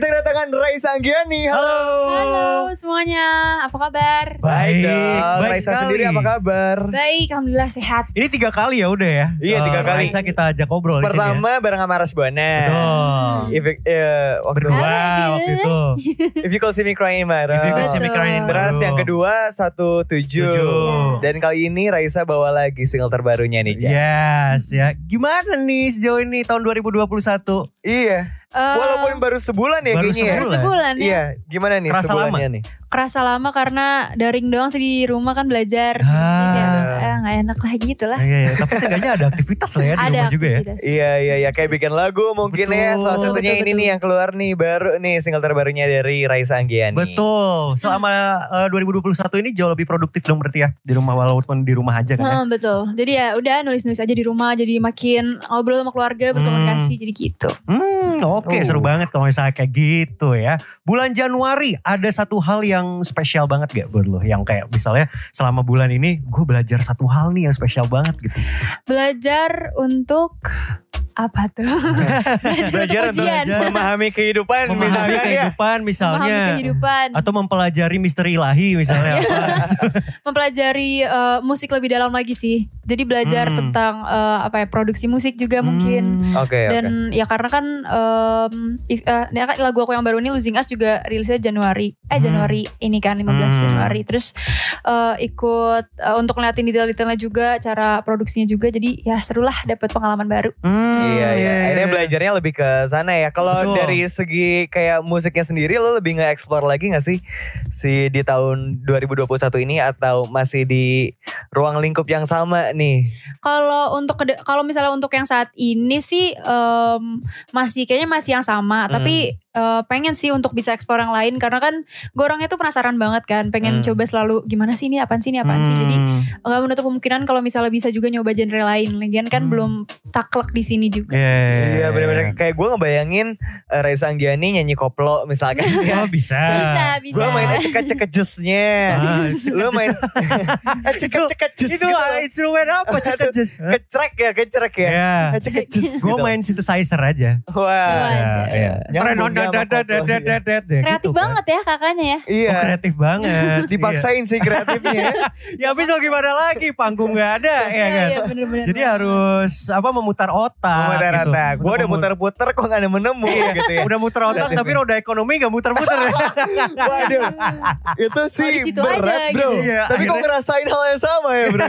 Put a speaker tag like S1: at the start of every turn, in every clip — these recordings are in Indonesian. S1: dengan Rai Sanggiani. Halo.
S2: Halo semuanya, apa kabar?
S1: Baik,
S3: Baik,
S1: dong.
S3: baik
S1: Raisa
S3: sekali.
S1: sendiri apa kabar?
S2: Baik, alhamdulillah sehat.
S3: Ini tiga kali ya udah ya.
S1: Iya, tiga
S3: Eh,
S1: kali.
S3: Raisa kita ajak ngobrol di sini.
S1: Pertama bareng sama Ras Bona.
S3: ya. Betul.
S1: If, you- eh, waktu-
S3: Berdua
S2: Halo,
S3: waktu
S2: gitu.
S3: itu.
S1: if you could see me crying in my room.
S3: Jadi gue sih
S2: Betul.
S3: mikirin
S1: Terus yang kedua 17.
S3: Tujuh.
S1: Dan kali ini Raisa bawa lagi single terbarunya nih, Jas.
S3: Yes ya. Gimana nih sejauh ini tahun 2021?
S1: Iya.
S2: Eh,
S1: Walaupun baru sebulan ya
S3: baru
S1: kayaknya. ya?
S2: baru sebulan ya.
S1: Iya, gimana nih
S3: Kerasa
S1: sebulannya nih?
S2: Kerasa lama karena daring doang sih di rumah kan belajar.
S3: Ah.
S2: Jadi kayak, eh, nggak enak lah gitu lah.
S3: Iya, iya. Tapi seenggaknya ada aktivitas lah ya di rumah juga ya.
S2: aktivitas.
S1: Iya iya iya kayak bikin lagu mungkin
S3: Betul.
S1: ya salah satunya
S2: Betul,
S1: ini
S2: betul.
S1: nih yang keluar nih baru nih single terbarunya dari Raisa Anggiani.
S3: Betul. Selama eh, 2021 ini jauh lebih produktif dong berarti ya di rumah walaupun di rumah aja kan ya.
S2: Heeh, betul. Jadi ya udah nulis-nulis aja di rumah jadi makin ngobrol sama keluarga, berkomunikasi jadi gitu.
S3: Hmm, oke
S1: Uh.
S3: seru banget kalau misalnya kayak gitu ya. Bulan Januari ada satu hal yang spesial banget gak buat lo? Yang kayak misalnya selama bulan ini gue belajar satu hal nih yang spesial banget gitu.
S2: Belajar untuk apa tuh? belajar,
S3: Belajar
S2: untuk ujian.
S3: belajar.
S1: Memahami kehidupan
S3: Memahami
S1: misalnya ya.
S3: kehidupan misalnya.
S2: gitu. Memahami kehidupan. Iya,
S3: Atau mempelajari misteri ilahi misalnya. apa.
S2: mempelajari eh, musik lebih dalam lagi sih. Jadi belajar
S3: Hmm.
S2: tentang eh, apa ya produksi musik juga mungkin.
S3: Hmm.
S1: Oke oke.
S2: Dan ya karena kan em, if- eh, ini kan lagu aku yang baru ini Losing Us juga rilisnya Januari. Eh
S3: Hmm.
S2: Januari ini kan 15
S3: Hmm.
S2: Januari. Terus eh, ikut eh, untuk ngeliatin detail-detailnya juga, cara produksinya juga. Jadi ya serulah dapat pengalaman baru.
S3: Hmm,
S1: Iya iya. Akhirnya belajarnya lebih ke sana ya. Kalau
S3: Betul.
S1: dari segi kayak musiknya sendiri lo lebih nge-explore lagi gak sih si di tahun 2021 ini atau masih di ruang lingkup yang sama nih?
S2: Kalau untuk kede- kalau misalnya untuk yang saat ini sih em, masih kayaknya masih yang sama,
S1: Hmm.
S2: tapi eh, pengen sih untuk bisa eksplor yang lain karena kan gue orangnya tuh penasaran banget kan,
S3: Hmm.
S2: pengen coba selalu gimana sih ini apaan sih ini apaan sih. Jadi
S3: Hmm.
S2: nggak menutup kemungkinan kalau misalnya bisa juga nyoba genre lain. Lagian kan
S3: Hmm.
S2: belum taklek di sini juga.
S3: Iya,
S1: Iya benar-benar kayak gue ngebayangin eh, Raisa Anggiani nyanyi koplo misalkan.
S3: Oh, bisa.
S2: Bisa, bisa.
S1: Gue main ecek-ecek-ecesnya.
S3: Ah,
S1: Lu main ecek-ecek-eces
S3: Itu
S1: gitu.
S3: instrumen apa? Cekejes.
S1: Kecrek ya, kecrek ya.
S3: Iya.
S1: Ecek-eces.
S3: Gue
S1: gitu.
S3: main synthesizer aja.
S1: Wah.
S2: Waduh.
S3: Iya.
S1: Nyambung, nyambung, nyambung.
S3: gitu
S2: Kreatif
S3: kan.
S2: banget ya kakaknya ya.
S3: Iya.
S1: Iya.
S3: Kreatif banget.
S1: Dipaksain sih kreatifnya.
S3: Iya. Ya habis mau gimana lagi panggung gak ada ya kan.
S2: Iya, bener-bener.
S3: Jadi harus apa memutar otak.
S1: Muter
S3: gitu.
S1: rata. Gue udah
S3: Memu-
S1: muter-puter kok gak nemu-nemu gitu ya.
S3: Udah muter otak
S1: Kreatif
S3: tapi
S1: ya.
S3: roda ekonomi gak muter-muter.
S1: Waduh. Itu sih
S2: situ
S1: berat
S2: aja
S1: bro.
S3: gitu. Iya,
S1: Tapi kok
S3: akhirnya-
S1: ngerasain hal yang sama ya bro.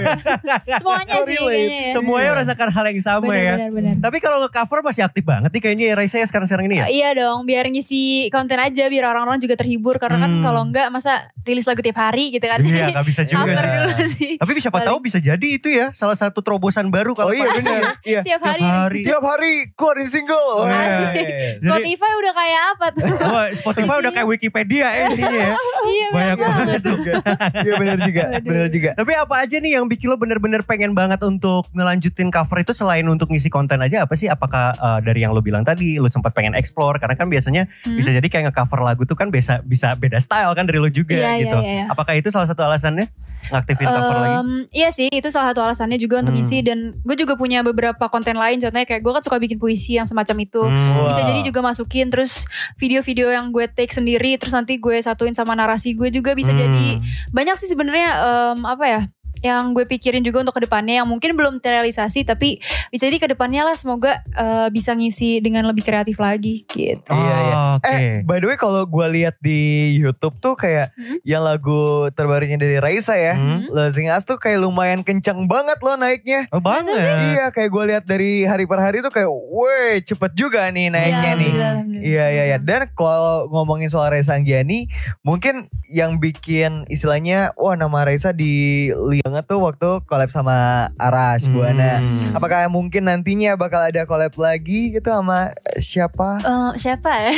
S2: Semuanya sih
S1: Relate.
S2: kayaknya ya.
S3: Semuanya
S1: Iya.
S3: merasakan hal yang sama ya.
S2: Benar-benar.
S3: Tapi kalau nge-cover masih aktif banget nih kayaknya ya Raisa ya sekarang-sekarang ini ya.
S2: Iya dong, biar ngisi konten aja biar orang-orang juga terhibur karena kan
S3: Hmm.
S2: kalau enggak masa rilis lagu tiap hari gitu kan.
S3: Iya gak bisa juga.
S2: Cover dulu sih.
S3: Tapi siapa
S2: Paling-
S3: tahu bisa jadi itu ya salah satu terobosan baru kalau
S1: Oh iya
S3: Pak-
S1: bener. Iya.
S2: tiap
S3: tiap
S2: hari.
S3: hari.
S1: Tiap hari keluarin single.
S3: Iya.
S1: Wah, iya.
S3: Jadi-
S2: Spotify udah kayak apa tuh?
S3: Wah, Oh, Spotify udah kayak Wikipedia ya isinya ya.
S2: iya,
S3: Banyak banget
S1: juga. Iya benar juga,
S2: Waduh.
S1: benar juga.
S3: Tapi apa aja nih yang bikin lo bener-bener pengen banget untuk ngelanjutin cover itu selain untuk ngisi konten aja apa sih? Apakah eh, dari yang lo bilang tadi lo sempat pengen explore karena kan biasanya
S2: Hmm.
S3: bisa jadi kayak ngecover lagu tuh kan bisa bisa beda style kan dari lo juga
S2: Iya, iya,
S3: gitu.
S2: iya.
S3: Apakah itu salah satu alasannya ngaktifin cover lagi?
S2: Em, Iya sih, itu salah satu alasannya juga untuk
S3: Hmm.
S2: ngisi dan gue juga punya beberapa konten lain contohnya kayak gue kan suka bikin puisi yang semacam itu.
S3: Hmm.
S2: Bisa
S1: Wah.
S2: jadi juga masukin terus video-video yang gue take sendiri terus nanti gue satuin sama narasi gue juga bisa
S3: Hmm.
S2: jadi banyak sih sebenarnya em, apa ya yang gue pikirin juga untuk kedepannya yang mungkin belum terrealisasi tapi bisa jadi kedepannya lah semoga eh, bisa ngisi dengan lebih kreatif lagi gitu.
S1: Iya, iya.
S3: Oke.
S1: Eh, by the way kalau gue lihat di YouTube tuh kayak yang lagu terbarunya dari Raisa ya,
S3: Hmm.
S1: Losing Us tuh kayak lumayan kencang banget loh naiknya.
S3: Oh, banget.
S1: Iya, kayak gue lihat dari hari per hari tuh kayak, weh cepet juga nih naiknya
S2: Iya,
S1: nih.
S2: alhamdulillah, alhamdulillah.
S1: Iya iya iya. Dan kalau ngomongin soal Raisa Anggiani, mungkin yang bikin istilahnya wah nama Raisa dilihat banget tuh waktu collab sama Arash Buana.
S3: Hmm.
S1: Apakah mungkin nantinya bakal ada collab lagi gitu sama siapa?
S2: Eh, siapa ya?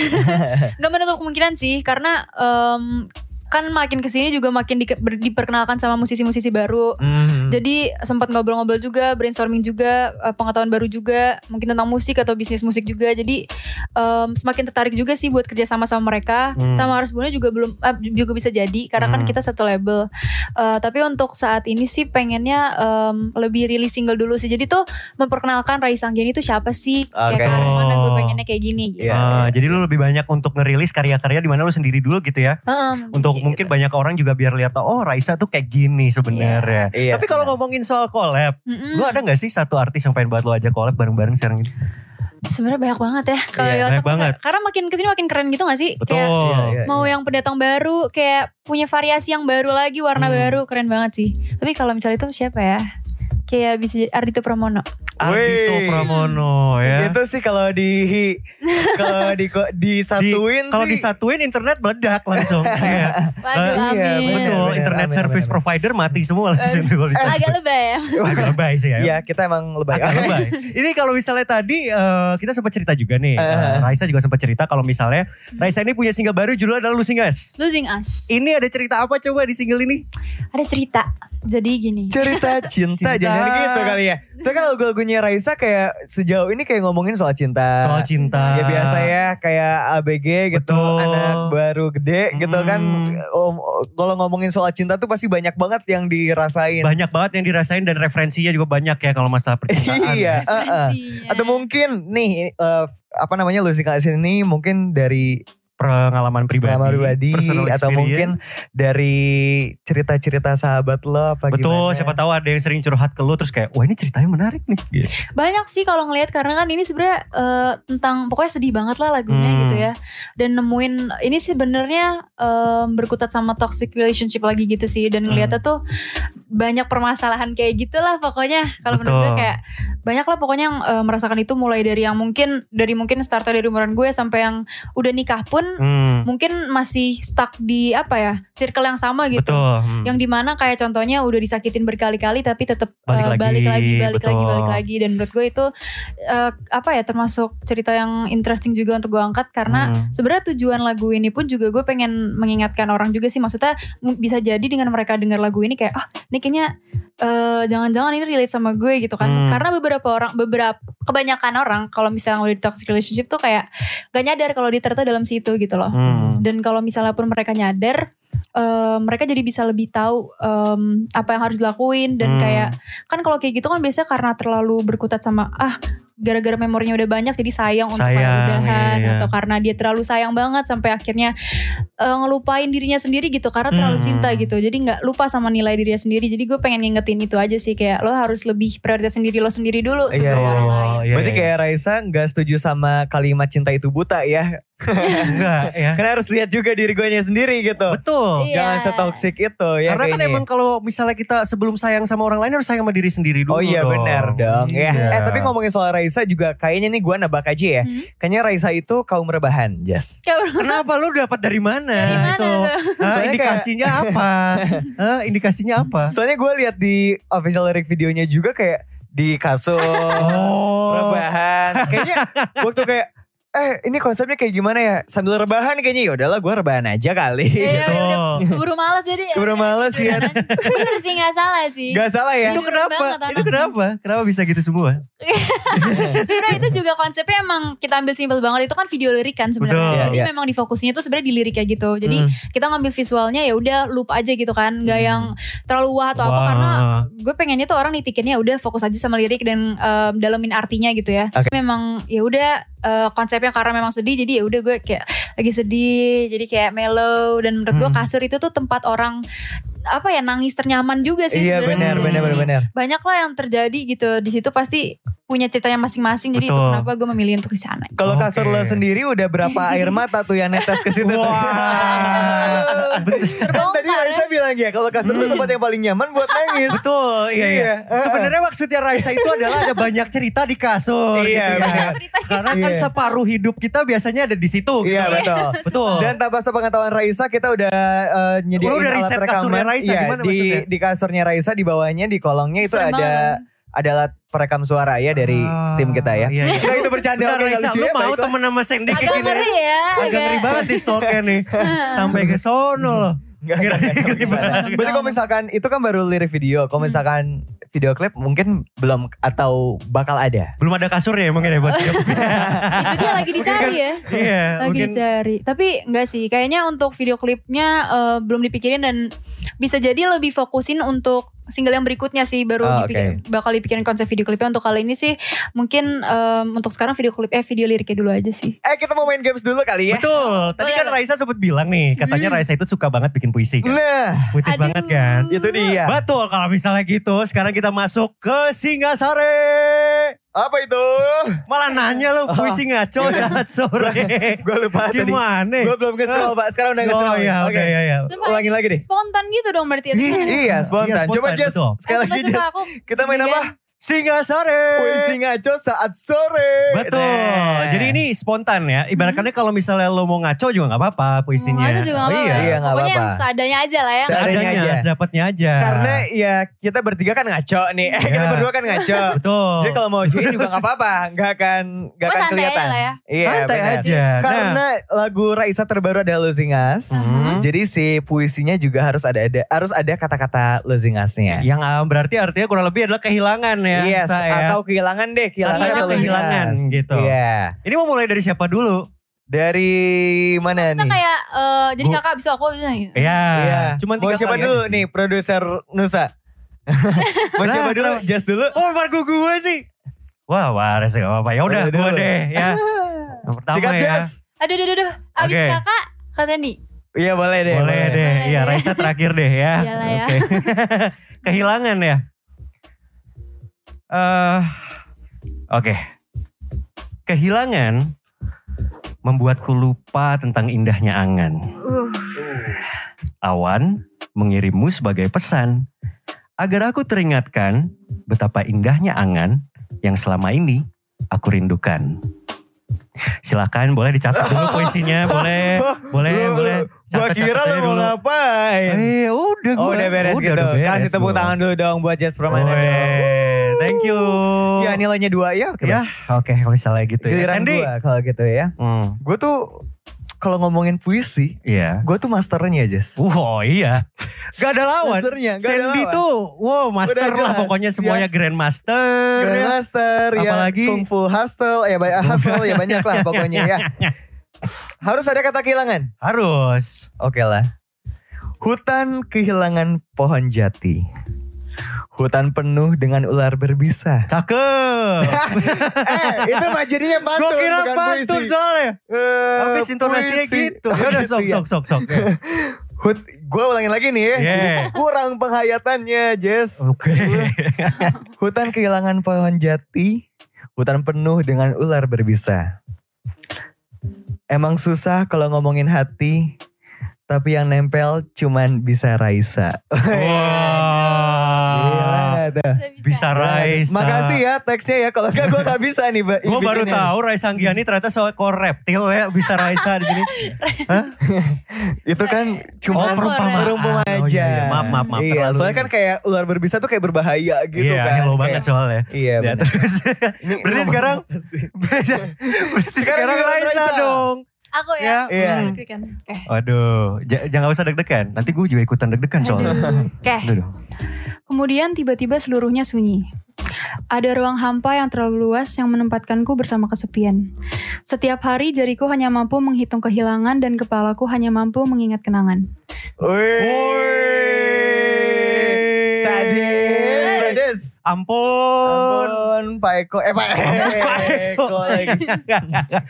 S2: Gak menutup kemungkinan sih karena em, kan makin kesini juga makin di- ber- diperkenalkan sama musisi-musisi baru.
S1: Hmm.
S2: Jadi sempat ngobrol-ngobrol juga, brainstorming juga, eh, pengetahuan baru juga, mungkin tentang musik atau bisnis musik juga. Jadi em, semakin tertarik juga sih buat kerja sama sama mereka.
S3: Hmm.
S2: Sama harus Bunda juga belum eh, juga bisa jadi karena kan
S3: Hmm.
S2: kita satu label. Eh, tapi untuk saat ini sih pengennya em, lebih rilis single dulu sih. Jadi tuh memperkenalkan Rai Sanggiani itu siapa sih?
S1: Oke.
S2: Kayak karena mana gue
S3: Oh.
S2: pengennya kayak gini gitu.
S1: Iya.
S3: Ah, jadi lu lebih banyak untuk ngerilis karya-karya di mana lu sendiri dulu gitu ya.
S2: Heeh,
S3: Untuk
S1: Iya,
S2: kayak
S3: mungkin
S2: gitu.
S3: banyak orang juga biar lihat oh Raisa tuh kayak gini sebenarnya.
S1: Iya,
S3: Tapi kalau
S1: sebenarnya. Hmm.
S3: ngomongin soal collab,
S2: Mm-mm.
S3: lu ada nggak sih satu artis yang pengen buat lu aja collab bareng-bareng sekarang ini?
S1: Iya,
S2: Sebenarnya banyak banget ya
S3: Iya,
S2: kalau di
S3: banyak
S2: otak tuh.
S3: banget.
S2: Karena makin kesini makin keren gitu gak sih?
S3: Betul.
S2: Kayak
S1: Iya, iya,
S2: mau yang pendatang baru kayak punya variasi yang baru lagi warna
S3: Hmm.
S2: baru keren banget sih. Tapi kalau misalnya itu siapa ya? Kayak bisa jadi Ardito Pramono.
S3: Ardhito
S1: Wih.
S3: Pramono ya.
S1: Itu Gitu sih kalau di kalau di disatuin
S3: Di- Kalau
S1: sih.
S3: disatuin internet meledak langsung. Iya.
S2: Waduh
S1: Ah, iya, bener,
S2: amin.
S3: Betul,
S1: bener,
S3: internet
S1: amin,
S3: service
S1: amin, amin.
S3: provider mati semua langsung tuh
S1: Eh.
S3: kalau disatuin.
S2: Agak lebay ya.
S3: Agak lebay sih ya.
S1: Iya, kita emang lebay.
S3: Agak lebay. Ini kalau misalnya tadi eh, kita sempat cerita juga nih. eh, Raisa juga sempat cerita kalau misalnya Raisa ini punya single baru judulnya adalah Losing Us.
S2: Losing Us.
S3: Ini ada cerita apa coba di single ini?
S2: Ada cerita. Jadi gini.
S1: cerita cinta,
S3: Cinta.
S1: jangan gitu kali ya. Soalnya kan lagu-lagunya Raisa kayak sejauh ini kayak ngomongin soal cinta.
S3: Soal cinta.
S1: Ya biasa ya kayak ABG gitu
S3: Betul.
S1: anak baru gede gitu kan.
S3: Hmm.
S1: Om- Kalau ngomongin soal cinta tuh pasti banyak banget yang dirasain.
S3: Banyak banget yang dirasain dan referensinya juga banyak ya kalau masalah percintaan. ya.
S1: iya. eh, eh.
S2: Referensinya.
S1: Atau mungkin nih eh, apa namanya Lucy Kalsin ini mungkin dari
S3: Pengalaman pribadi.
S1: pengalaman pribadi
S3: personal
S1: atau
S3: experience.
S1: mungkin dari cerita-cerita sahabat lo apa
S3: Betul,
S1: gimana.
S3: siapa tahu ada yang sering curhat ke lu terus kayak, wah ini ceritanya menarik nih.
S1: Iya.
S3: Gitu.
S2: banyak sih kalau ngelihat karena kan ini sebenarnya eh, tentang pokoknya sedih banget lah lagunya
S3: Hmm.
S2: gitu ya dan nemuin ini sih benernya em, berkutat sama toxic relationship lagi gitu sih dan
S3: Hmm.
S2: ngeliatnya tuh banyak permasalahan kayak gitulah pokoknya kalau menurut gue
S3: Betul.
S2: kayak banyak lah pokoknya yang eh, merasakan itu mulai dari yang mungkin dari mungkin startnya dari umuran gue sampai yang udah nikah pun
S3: Hmm,
S2: mungkin masih stuck di apa ya circle yang sama gitu
S3: Betul. hmm.
S2: yang dimana kayak contohnya udah disakitin berkali-kali tapi tetap
S3: Balik
S2: eh,
S3: lagi,
S2: balik lagi balik
S3: betul.
S2: lagi balik lagi dan menurut gue itu eh, apa ya termasuk cerita yang interesting juga untuk gue angkat karena
S3: Hmm.
S2: sebenarnya tujuan lagu ini pun juga gue pengen mengingatkan orang juga sih maksudnya m- bisa jadi dengan mereka dengar lagu ini kayak ah ini kayaknya eh, jangan-jangan ini relate sama gue gitu kan
S3: Hmm.
S2: karena beberapa orang beberapa kebanyakan orang kalau misalnya udah di toxic relationship tuh kayak gak nyadar kalau dia ternyata dalam situ gitu loh
S3: Hmm.
S2: dan kalau misalnya pun mereka nyadar eh, mereka jadi bisa lebih tahu em, apa yang harus dilakuin dan
S3: Hmm.
S2: kayak kan kalau kayak gitu kan biasanya karena terlalu berkutat sama ah gara-gara memorinya udah banyak jadi sayang, untuk
S3: Sayang,
S2: kayak udahan
S3: iya, iya.
S2: atau karena dia terlalu sayang banget sampai akhirnya eh, ngelupain dirinya sendiri gitu karena terlalu
S3: Hmm.
S2: cinta gitu jadi nggak lupa sama nilai dirinya sendiri jadi gue pengen ngingetin itu aja sih kayak lo harus lebih prioritas sendiri lo sendiri dulu
S1: Iya,
S2: sebelum
S1: iya,
S2: orang lain.
S3: Oh, iya,
S1: Berarti
S3: iya.
S1: kayak Raisa nggak setuju sama kalimat cinta itu buta ya.
S3: enggak ya.
S1: Karena harus lihat juga diri gue sendiri gitu.
S3: Betul.
S2: Iya.
S1: Jangan setoksik itu ya
S3: Karena kan
S1: kayaknya.
S3: emang kalau misalnya kita sebelum sayang sama orang lain harus sayang sama diri sendiri dulu
S1: Oh iya
S3: dong.
S1: benar dong
S3: Iya.
S1: ya. Eh tapi ngomongin soal Raisa juga kayaknya nih gue nabak aja ya.
S2: Hmm.
S1: Kayaknya Raisa itu kaum rebahan, Jas.
S2: Kayak-
S3: Kenapa lu dapat dari mana?
S2: Dari mana
S3: itu?
S2: tuh?
S3: Hah,
S1: Soalnya
S3: indikasinya apa? Hah, indikasinya apa?
S1: Soalnya gue lihat di official lyric videonya juga kayak di kasur,
S3: Oh.
S1: rebahan. Kayaknya waktu kayak eh ini konsepnya kayak gimana ya sambil rebahan kayaknya ya udahlah gue rebahan aja kali.
S2: Iya, udah-
S3: Betul. iya.
S2: keburu malas jadi
S1: Keburu malas, ya.
S2: Bener sih nggak salah sih
S1: Gak salah ya.
S3: Itu
S2: Tidur
S3: kenapa?
S2: Iya. banget
S3: Itu
S2: anaknya.
S3: kenapa? Kenapa bisa gitu semua?
S2: sebenarnya itu juga konsepnya emang kita ambil simpel banget itu kan video lirik kan
S3: Betul.
S2: sebenarnya jadi
S1: Iya. Hmm.
S2: memang di fokusnya itu sebenarnya di lirik ya gitu jadi kita ngambil visualnya ya udah loop aja gitu kan nggak yang
S1: Hmm.
S2: terlalu wah atau apa
S3: Wah.
S2: karena gue pengennya tuh orang nitikinnya udah fokus aja sama lirik dan em, dalemin artinya gitu ya
S1: Oke.
S2: memang ya udah eh, konsepnya karena memang sedih jadi ya udah gue kayak lagi sedih jadi kayak mellow dan menurut
S1: Hmm.
S2: gue kasur itu tuh tempat orang apa ya nangis ternyaman juga sih
S1: Iya benar
S2: sebenarnya gitu.
S1: benar benar
S2: Jadi,
S1: benar.
S2: banyak lah yang terjadi gitu di situ pasti punya ceritanya masing-masing jadi itu
S3: Betul.
S2: kenapa gue memilih untuk di sana
S1: Kalau
S3: Oke.
S1: kasur lo sendiri udah berapa air mata tuh yang netes ke situ? tuh?
S3: Wah.
S1: Kan Tadi
S2: terbongkar ya.
S1: Raisa bilang ya kalau kasur
S3: Hmm.
S1: tuh tempat yang paling nyaman buat nangis.
S3: Betul, iya, iya.
S1: Iya, eh.
S3: Sebenarnya maksudnya Raisa itu adalah ada banyak cerita di
S1: Iya,
S3: kasur gitu ya.
S1: benar.
S3: Karena kan
S1: Iya.
S3: separuh hidup kita biasanya ada di situ. gitu.
S1: Iya betul.
S3: Betul.
S1: Dan tanpa sepengetahuan Raisa kita udah eh, nyediain
S3: Lu udah
S1: alat
S3: riset
S1: rekaman.
S3: kasurnya Raisa,
S1: Iya,
S3: gimana
S1: di,
S3: maksudnya?
S1: di kasurnya Raisa di bawahnya di kolongnya itu
S2: Serem
S1: ada ada alat perekam suara ya dari
S3: Ah,
S1: tim kita ya.
S3: iya, iya.
S1: Kita itu bercanda
S3: Bentar,
S1: oke nggak
S3: Raisa,
S1: lucu
S3: lu
S1: ya,
S3: mau
S1: baiklah.
S3: temen sama Sandy kayak
S2: agak
S3: gini?
S2: ngeri ya
S3: Agak ngeri banget di stalknya nih. Sampai ke sono loh.
S1: Nggak, nggak, nggak sampai ke sana. Berarti kalau misalkan itu kan baru lirik video. Kalau
S2: Hmm.
S1: misalkan video klip mungkin belum atau bakal ada.
S3: Belum ada kasurnya mungkin ya buat tiup.
S2: Itu dia lagi dicari ya.
S3: Iya,
S2: Lagi
S3: mungkin
S2: dicari. Tapi enggak sih, kayaknya untuk video klipnya eh, belum dipikirin dan bisa jadi lebih fokusin untuk single yang berikutnya sih baru
S1: Ah,
S2: dipikir- bakal dipikirin konsep video klipnya untuk kali ini sih mungkin em, untuk sekarang video klip eh video liriknya dulu aja sih.
S1: Eh kita mau main games dulu kali ya.
S3: Betul, tadi
S2: Boleh,
S3: kan
S2: boleh.
S3: Raisa sempat bilang nih, katanya
S2: Hmm.
S3: Raisa itu suka banget bikin puisi kan.
S1: Nah,
S3: Puitis
S2: Aduh.
S3: banget kan.
S1: itu dia.
S3: Betul, kalau misalnya gitu sekarang kita masuk ke Singasari.
S1: Apa itu?
S3: Malah nanya lo
S1: Oh.
S3: puisi ngaco saat sore.
S1: Gue lupa tadi.
S3: Gimana?
S1: Gue belum kesel Pak. Sekarang udah kesel.
S3: Oh iya, oke ya ya.
S2: Sumpah,
S1: Ulangin lagi deh.
S2: Spontan gitu dong berarti ya.
S1: Iya, iya, spontan.
S3: Iya,
S1: Coba
S3: spontan,
S1: Jess.
S3: betul.
S1: Sekali lagi
S2: Sumpah-sumpah
S1: Jess.
S2: aku Iya.
S1: Kita main
S2: deg-degan.
S1: apa?
S3: Singasari.
S1: Puisi ngaco saat sore.
S3: Betul.
S1: Nah.
S3: Jadi ini spontan ya. Ibaratnya kalau misalnya lo mau ngaco juga nggak apa-apa puisinya.
S2: Mau aja Hmm. juga
S3: Oh,
S2: nggak
S3: iya.
S2: apa-apa.
S1: Iya, nggak
S2: Pokoknya yang
S1: apa-apa.
S2: seadanya aja lah ya.
S1: Seadanya
S3: Seadanya,
S1: aja.
S3: sedapatnya aja.
S1: Karena ya kita bertiga kan ngaco nih. Eh kita
S3: Nah. Iya.
S1: berdua kan ngaco.
S3: betul.
S1: Jadi kalau mau join juga gak apa-apa. Gak akan, gak
S2: Pokoknya
S1: akan
S2: santai aja
S1: kelihatan.
S2: lah ya.
S1: Iya
S3: santai
S1: benar.
S3: aja. Nah,
S1: Karena lagu Raisa terbaru ada Losing Us.
S3: Mhm.
S1: Jadi si puisinya juga harus ada ada harus ada kata-kata Losing Us-nya.
S3: yang um, berarti artinya kurang lebih adalah kehilangan ya.
S1: yes,
S3: Sa, ya. Iya,
S1: atau kehilangan deh, kehilangan
S2: Atau
S1: atau losing
S3: kehilangan
S1: us.
S3: gitu.
S1: Iya.
S3: ini mau mulai dari siapa dulu?
S1: Dari mana
S2: Kita
S1: nih?
S2: kayak eh, jadi
S3: Bu-
S2: kakak abis aku abis itu.
S3: Iya.
S1: Iya.
S3: Cuman
S1: mau
S3: tiga
S1: siapa
S3: kali aja
S1: dulu
S3: sih.
S1: nih produser Nusa? mau
S3: Lah,
S1: siapa dulu?
S3: kenapa?
S1: Just dulu.
S3: Oh, margo gue sih. Wah, waras gak apa-apa. Ya udah,
S1: Udah
S3: gue
S1: dulu.
S3: deh ya. Yang pertama
S1: Sikat
S3: ya.
S1: Just.
S2: Aduh, aduh, aduh, aduh. Abis
S3: Oke.
S2: kakak, Kak Sandy.
S1: Iya boleh deh.
S3: Boleh deh.
S2: Boleh
S3: Ya,
S2: deh.
S3: Raisa terakhir deh ya.
S2: Iyalah ya.
S3: Oke. Kehilangan ya. Eh, oke. Kehilangan membuatku lupa tentang indahnya angan.
S2: Uh,
S3: Awan mengirimmu sebagai pesan agar aku teringatkan betapa indahnya angan yang selama ini aku rindukan. Silakan boleh dicatat dulu puisinya, boleh, boleh,
S1: Lu- lu-
S3: boleh.
S1: Gua
S3: Catat-
S1: kira lo
S3: catat aja
S1: mau
S3: dulu.
S1: ngapain?
S3: Eh, udah
S1: Oh
S3: gua-
S1: udah beres gitu.
S3: udah beres
S1: Kasih tepuk
S3: gua.
S1: tangan dulu dong buat Jess Permana
S3: Weh,
S1: dong.
S3: Thank you.
S1: Ya nilainya dua ya. Oke.
S3: Oh. Ya, oke kalau misalnya gitu ya.
S1: Giliran
S3: Sandy.
S1: gua kalau gitu ya.
S3: Hmm,
S1: Gue tuh kalau ngomongin puisi,
S3: Iya.
S1: gue tuh masternya Jess.
S3: Wow iya. Gak ada lawan.
S1: Masternya, gak ada
S3: Sandy
S1: lawan.
S3: tuh wow master
S1: Udah
S3: lah
S1: jelas,
S3: pokoknya semuanya
S1: ya.
S3: grandmaster. ya.
S1: Grandmaster, ya,
S3: Apalagi-
S1: Kung Fu Hustle, ya banyak hustle, ya banyak lah pokoknya ya. Harus ada kata kehilangan.
S3: Harus.
S1: Oke lah. Hutan kehilangan pohon jati. Hutan penuh dengan ular berbisa.
S3: Cakep.
S1: eh, itu mah jadinya
S3: Gue
S1: pantun,
S3: kira
S1: bukan
S3: pantun
S1: puisi.
S3: soalnya.
S1: Eh,
S3: Habis intonasinya
S1: puisi.
S3: gitu.
S1: Oh,
S3: Ya udah sok
S1: ya.
S3: sok sok sok.
S1: Hut, gue ulangin lagi nih ya.
S3: Yeah.
S1: Kurang penghayatannya, Jess.
S3: Oke.
S1: Hutan kehilangan pohon jati, hutan penuh dengan ular berbisa. Emang susah kalau ngomongin hati, tapi yang nempel cuman bisa Raisa.
S3: Wow.
S1: Gila, tuh.
S3: Bisa Ah, Raisa.
S1: Iya. Makasih ya teksnya ya, kalau enggak gue gak bisa nih. Mbak.
S3: Gue baru
S1: Bikinnya.
S3: tahu Raisa Anggiani ternyata soal core reptil ya bisa Raisa di sini.
S1: Itu kan cuma
S3: Oh, perumpamaan.
S1: perumpamaan
S3: Oh,
S1: aja.
S3: iya, iya. Maaf, maaf, maaf,
S1: Iya,
S3: terlalu
S1: soalnya
S3: ini.
S1: kan kayak ular berbisa tuh kayak berbahaya gitu
S3: iya,
S1: kan.
S3: hello
S1: Kayak-
S3: banget soalnya.
S1: Iya,
S3: Ya,
S1: benar.
S3: terus.
S1: Ini-
S3: Berarti
S1: ini
S3: sekarang
S1: makasih.
S3: Berarti sekarang
S1: Sekarang giliran
S3: Raisa
S1: Raisa.
S3: dong.
S2: Aku ya.
S3: Iya.
S2: Hmm, deg-degan. Oke.
S3: Waduh, j- jangan usah deg-degan. Nanti gue juga ikutan deg-degan soalnya.
S2: Oke.
S3: Aduh.
S2: Kemudian tiba-tiba seluruhnya sunyi. Ada ruang hampa yang terlalu luas yang menempatkanku bersama kesepian. Setiap hari jariku hanya mampu menghitung kehilangan dan kepalaku hanya mampu mengingat kenangan.
S1: Wih. Sadis, sadis.
S3: Ampun.
S1: Ampun, Pak Eko. Eh, Pak Eko. lagi.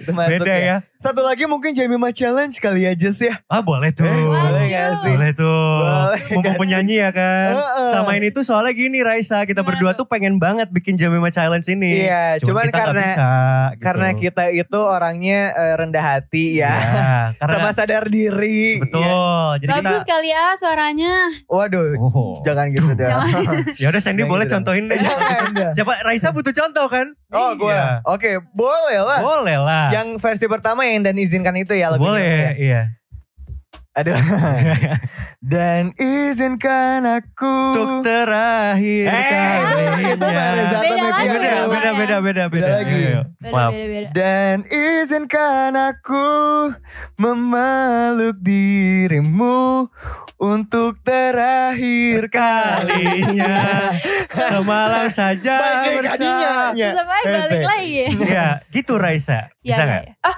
S1: Itu masuk
S3: Beda ya.
S1: Satu lagi mungkin Jamima Challenge kali aja sih ya.
S3: Ah boleh tuh.
S1: Eh, boleh gak sih?
S3: Boleh tuh.
S1: Boleh
S3: Mumpung penyanyi ya kan.
S1: Heeh.
S3: Sama ini tuh soalnya gini Raisa, kita
S2: Gimana
S3: berdua tuh pengen banget bikin Jamima Challenge ini.
S1: Iya, cuman
S3: kita nggak
S1: karena-
S3: bisa, gitu.
S1: Karena kita ya. itu orangnya eh, rendah hati
S3: Iya,
S1: ya.
S3: karena
S1: Sama sadar diri. ya.
S3: betul. Jadi kita
S2: Bagus kan? kali ya suaranya.
S1: Waduh,
S3: Oh.
S1: jangan gitu dong.
S3: Ya udah Sandy
S1: Jangan
S3: boleh
S1: gitu dong.
S3: contohin deh.
S1: Jangan dong.
S3: Siapa Raisa butuh contoh kan?
S1: Oh, Ya, gue.
S3: Iya.
S1: Oke, boleh lah.
S3: Boleh lah.
S1: Yang versi pertama yang dan izinkan itu ya lagunya.
S3: boleh, iya.
S1: Aduh. dan izinkan aku.
S3: Untuk terakhir
S1: Eh,
S3: kalinya.
S1: itu Mbak Reza atau
S2: Beda
S1: Mevia?
S2: lagi
S3: Beda,
S2: dong,
S3: beda,
S2: Mbak,
S3: beda, beda, beda.
S1: ya. lagi.
S3: Iya, iya. Maaf.
S2: Beda-beda.
S1: Dan izinkan aku memeluk dirimu Untuk terakhir
S3: Kalinya semalam saja
S1: Baik, baik,
S3: bersama.
S1: adinya.
S2: Tetap
S3: Iya,
S2: aja balik
S1: Pesek.
S2: lagi. Ya,
S3: Ya, gitu Raisa. Bisa
S2: ya,
S3: nggak?
S2: ya. Ah,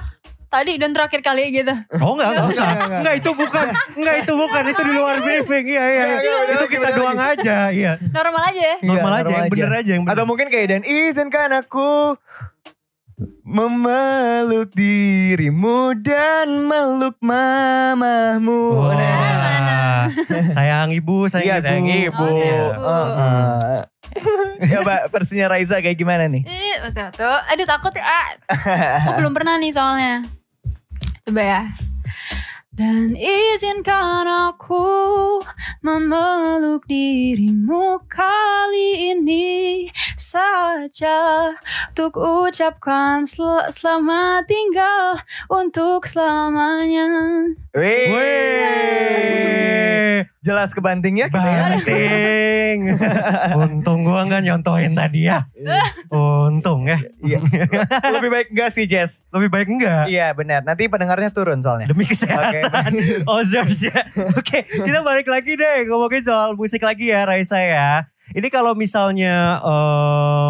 S2: tadi dan terakhir kali gitu.
S3: Oh enggak, enggak usah.
S1: Enggak, enggak.
S3: Enggak itu bukan. Enggak itu bukan. Itu di luar briefing. Iya, iya.
S1: Enggak,
S3: iya.
S1: enggak, udah
S3: Itu
S1: lagi,
S3: kita
S1: udah
S3: doang aja. Iya.
S2: Normal aja ya.
S1: Iya,
S3: Normal aja,
S1: normal
S3: yang bener
S1: aja.
S3: aja yang bener.
S1: Atau mungkin kayak dan izinkan aku memeluk dirimu dan meluk mamahmu.
S3: Wah.
S1: Nah.
S3: sayang ibu,
S1: Iya
S3: sayang ibu.
S1: sayang ibu.
S2: Oh, sayang ibu.
S1: Eh, eh. ya Mbak, versinya Raisa kayak gimana nih?
S2: Eh, betul tuh. Aduh takut ya. ah. Aku belum pernah nih soalnya. Coba ya. Dan izinkan aku memeluk dirimu kali ini saja Untuk ucapkan sel- selamat tinggal untuk selamanya
S1: Wih.
S3: Weh.
S1: Jelas kebanting ya kita ya.
S3: Banting. Untung gua nggak nyontohin tadi ya. Untung ya.
S1: Iya. Lebih baik enggak sih Jess?
S3: Lebih baik enggak?
S1: Iya benar. Nanti pendengarnya turun soalnya.
S3: Demi
S1: Oke.
S3: kesehatan. Ozers ya. Oke, kita balik lagi deh ngomongin soal musik lagi ya Raisa ya. Ini kalau misalnya eh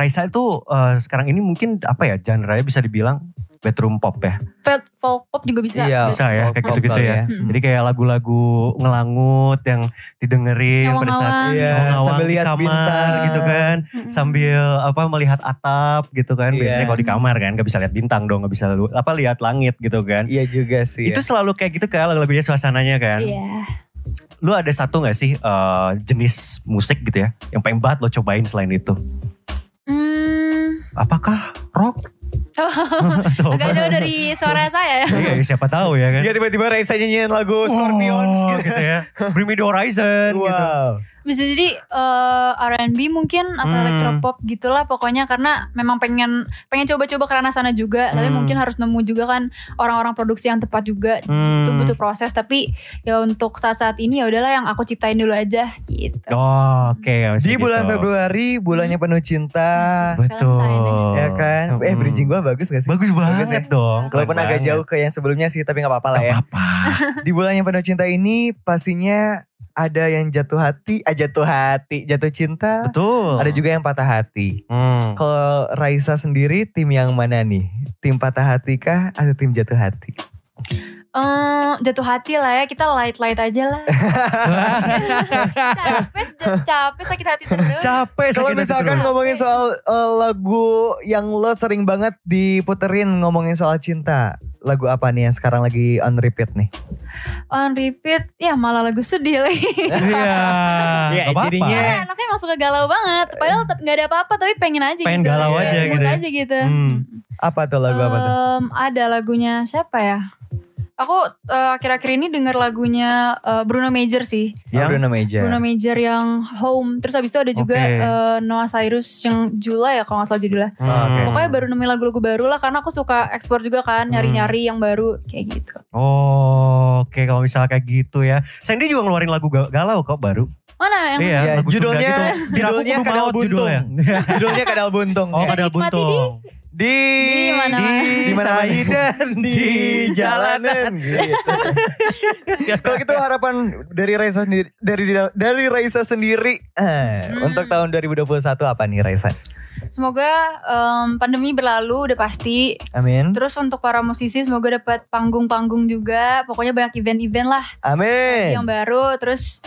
S3: Raisa itu eh, sekarang ini mungkin apa ya genre bisa dibilang bedroom pop ya.
S2: Pet folk pop juga bisa
S1: Iya.
S3: Bisa ya kayak
S1: Pop
S3: gitu-gitu
S1: kali
S3: ya.
S1: ya.
S2: Mm.
S3: Jadi kayak lagu-lagu ngelangut yang didengerin pada saat
S2: Ngawang-ngawang.
S1: Iya,
S3: ngawang-ngawang
S1: sambil
S3: di
S1: lihat
S3: kamar
S1: bintang.
S3: gitu kan.
S2: Mm-mm.
S3: Sambil apa melihat atap gitu kan.
S1: Iya.
S3: Biasanya kalau di kamar kan gak bisa lihat bintang dong, gak bisa lu- apa lihat langit gitu kan.
S1: Iya juga sih.
S3: Itu selalu kayak gitu kan lebihnya suasananya kan.
S2: Iya.
S3: Lu ada satu gak sih eh, jenis musik gitu ya yang pengen banget lo cobain selain itu?
S2: Hmm,
S3: Apakah rock? Atau apa?
S2: agak jauh dari suara saya ya.
S3: Iya, siapa tahu ya kan.
S1: Ya tiba-tiba Raisa nyanyiin lagu Scorpions
S3: Wow,
S1: gitu.
S3: gitu ya. Bring me the horizon gitu.
S1: Wow.
S2: bisa jadi eh, R&B mungkin atau
S3: Hmm.
S2: electropop gitulah pokoknya karena memang pengen pengen coba-coba ke arah sana juga tapi
S3: Hmm.
S2: mungkin harus nemu juga kan orang-orang produksi yang tepat juga itu
S3: Hmm.
S2: butuh proses tapi ya untuk saat-saat ini ya udahlah yang aku ciptain dulu aja gitu
S3: Oh,
S1: Di
S3: Oke,
S1: bulan
S3: maksudnya gitu. Hmm.
S1: Februari bulannya penuh cinta.
S3: Betul.
S2: Valentine
S1: Ya kan? Eh
S3: Mm.
S1: bridging gue bagus gak sih?
S3: Bagus
S1: ya.
S3: banget dong.
S1: Walaupun agak jauh ya. ke yang sebelumnya sih tapi gak apa-apa lah
S3: Gak
S1: ya.
S3: apa-apa.
S1: Di bulan yang penuh cinta ini pastinya ada yang jatuh hati, ah jatuh hati, jatuh cinta.
S3: Betul.
S1: Ada juga yang patah hati.
S3: Hmm.
S1: Kalau Raisa sendiri tim yang mana nih? Tim patah hati kah atau tim jatuh hati?
S2: Eh, jatuh hati lah ya kita light light aja lah capek sudah capek sakit hati terus
S3: Capek
S1: Eh, Kalau
S3: sakit hati
S1: misalkan
S3: terus.
S1: ngomongin soal eh, lagu yang lo sering banget diputerin ngomongin soal cinta, lagu apa nih yang sekarang lagi on repeat nih?
S2: on repeat ya malah lagu sedih lagi
S3: Iya.
S1: Iya,
S3: gak apa-apa.
S1: jadinya-
S2: Karena anaknya masuk ke galau banget. Padahal tetap nggak ada apa-apa tapi pengen aja
S3: Pengen
S2: gitu.
S3: galau aja
S2: Mood
S3: gitu ya.
S2: aja gitu.
S3: Hmm.
S1: Apa tuh lagu apa tuh?
S2: Em, ada lagunya siapa ya? Aku eh, akhir-akhir ini denger lagunya eh, Bruno Major sih.
S1: Yang
S3: Yang-
S1: Eh, Bruno Major.
S2: Bruno Major yang Home. Terus habis itu ada juga
S3: Ya. Oke.
S2: eh, Noah Cyrus yang Jula ya kalau nggak salah judulnya.
S3: Hmm. Hmm.
S1: Oke.
S2: Pokoknya baru nemuin lagu-lagu baru lah karena aku suka ekspor juga kan nyari-nyari yang baru kayak gitu.
S3: Oh, Oke, kalau misalnya kayak gitu ya. Sandy juga ngeluarin lagu ga- galau kok baru.
S2: Mana yang
S3: Iya,
S1: Iya,
S3: lagu Sunda
S1: judulnya
S3: gitu. Kira aku
S1: judulnya
S3: kudu
S1: Kadal
S3: maut
S1: Buntung.
S3: judulnya.
S1: Judulnya Kadal Buntung.
S3: Oh,
S2: Bisa
S3: ada
S2: dinikmati di-
S3: buntung.
S1: Di
S2: Di mana?
S1: di mana
S3: Di
S1: dan di jalanan. gitu. Kalau gitu harapan dari Raisa sendiri dari dari Raisa sendiri eh,
S2: Hmm.
S1: untuk tahun 2021 apa nih Raisa?
S2: Semoga em, pandemi berlalu udah pasti.
S1: Amin.
S2: Terus untuk para musisi semoga dapat panggung-panggung juga. Pokoknya banyak event-event lah
S1: Amin.
S2: yang baru. Terus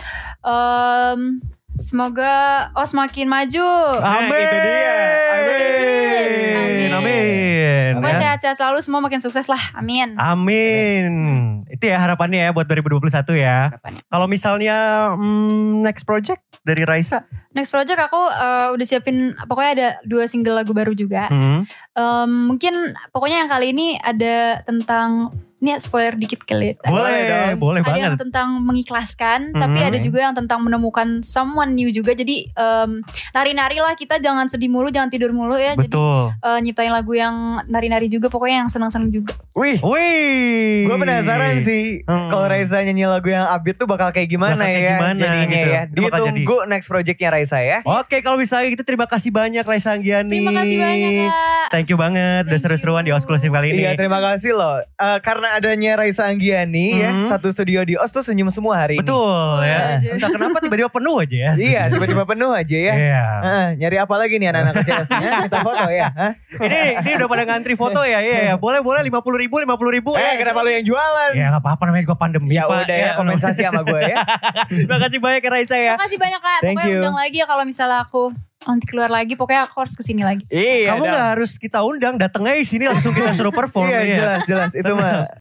S2: em, semoga oh semakin maju.
S3: Amin.
S1: Nah, itu dia.
S3: Amin.
S2: Amin.
S3: Amin. Ah.
S2: Pokoknya
S3: Ya.
S2: sehat-sehat selalu semua makin sukses lah. Amin.
S3: Amin. Itu ya harapannya ya buat 2021 ya.
S2: Harapannya.
S3: Kalau misalnya hmm, next project dari Raisa.
S2: Next project aku eh, udah siapin pokoknya ada dua single lagu baru juga.
S3: Hmm.
S2: Em, mungkin pokoknya yang kali ini ada tentang ini ya, spoiler dikit kali. ya.
S3: Boleh,
S1: dong.
S3: boleh
S2: ada
S3: banget.
S2: yang tentang mengikhlaskan, tapi
S3: Mhm.
S2: ada juga yang tentang menemukan someone new juga. Jadi em, nari-nari lah kita jangan sedih mulu, jangan tidur mulu ya. Jadi
S3: Betul.
S2: eh, nyiptain lagu yang nari-nari juga, pokoknya yang seneng-seneng juga.
S1: Wih,
S3: Wih.
S1: gue penasaran sih
S3: Hmm.
S1: kalau Raisa nyanyi lagu yang upbeat tuh bakal kayak gimana
S3: Bakal kayak
S1: ya
S3: gimana
S1: jadinya
S3: gitu.
S1: ya.
S3: Itu bakal jadi.
S1: Ditunggu next projectnya Raisa ya.
S3: Oke, kalau misalnya gitu terima kasih banyak Raisa Anggiani.
S2: Terima kasih banyak kak.
S3: Thank you banget udah
S2: Thank
S3: seru-seruan di
S2: you.
S3: eksklusif kali ini.
S1: Iya terima kasih loh. Eh, karena Dengan adanya Raisa Anggiani ya,
S3: Mhm.
S1: satu studio di OS tuh senyum semua hari ini.
S3: Betul ya.
S2: Iya.
S3: Entah kenapa tiba-tiba penuh aja ya.
S1: Iya, tiba-tiba penuh aja ya.
S3: Iya.
S1: Heeh, nyari apa lagi nih anak-anak kecil pastinya? Minta foto ya? Hah?
S3: Ini ini udah pada ngantri foto ya. Iya, ya. boleh boleh 50 ribu, 50 ribu.
S1: Eh, kenapa lu yang jualan?
S3: Ya nggak apa-apa namanya juga pandemi
S1: Ya
S3: Pak.
S1: udah ya, kompensasi sama gue ya.
S3: Terima kasih banyak ya, Raisa ya.
S2: Makasih banyak kak.
S1: Thank
S2: pokoknya
S1: you.
S2: undang lagi ya kalau misalnya aku nanti keluar lagi. Pokoknya aku harus kesini lagi.
S1: Iya,
S3: Kamu
S1: dah.
S3: nggak harus kita undang, dateng aja sini langsung kita suruh perform.
S1: Iya,
S3: ya.
S1: jelas, jelas. Itu mah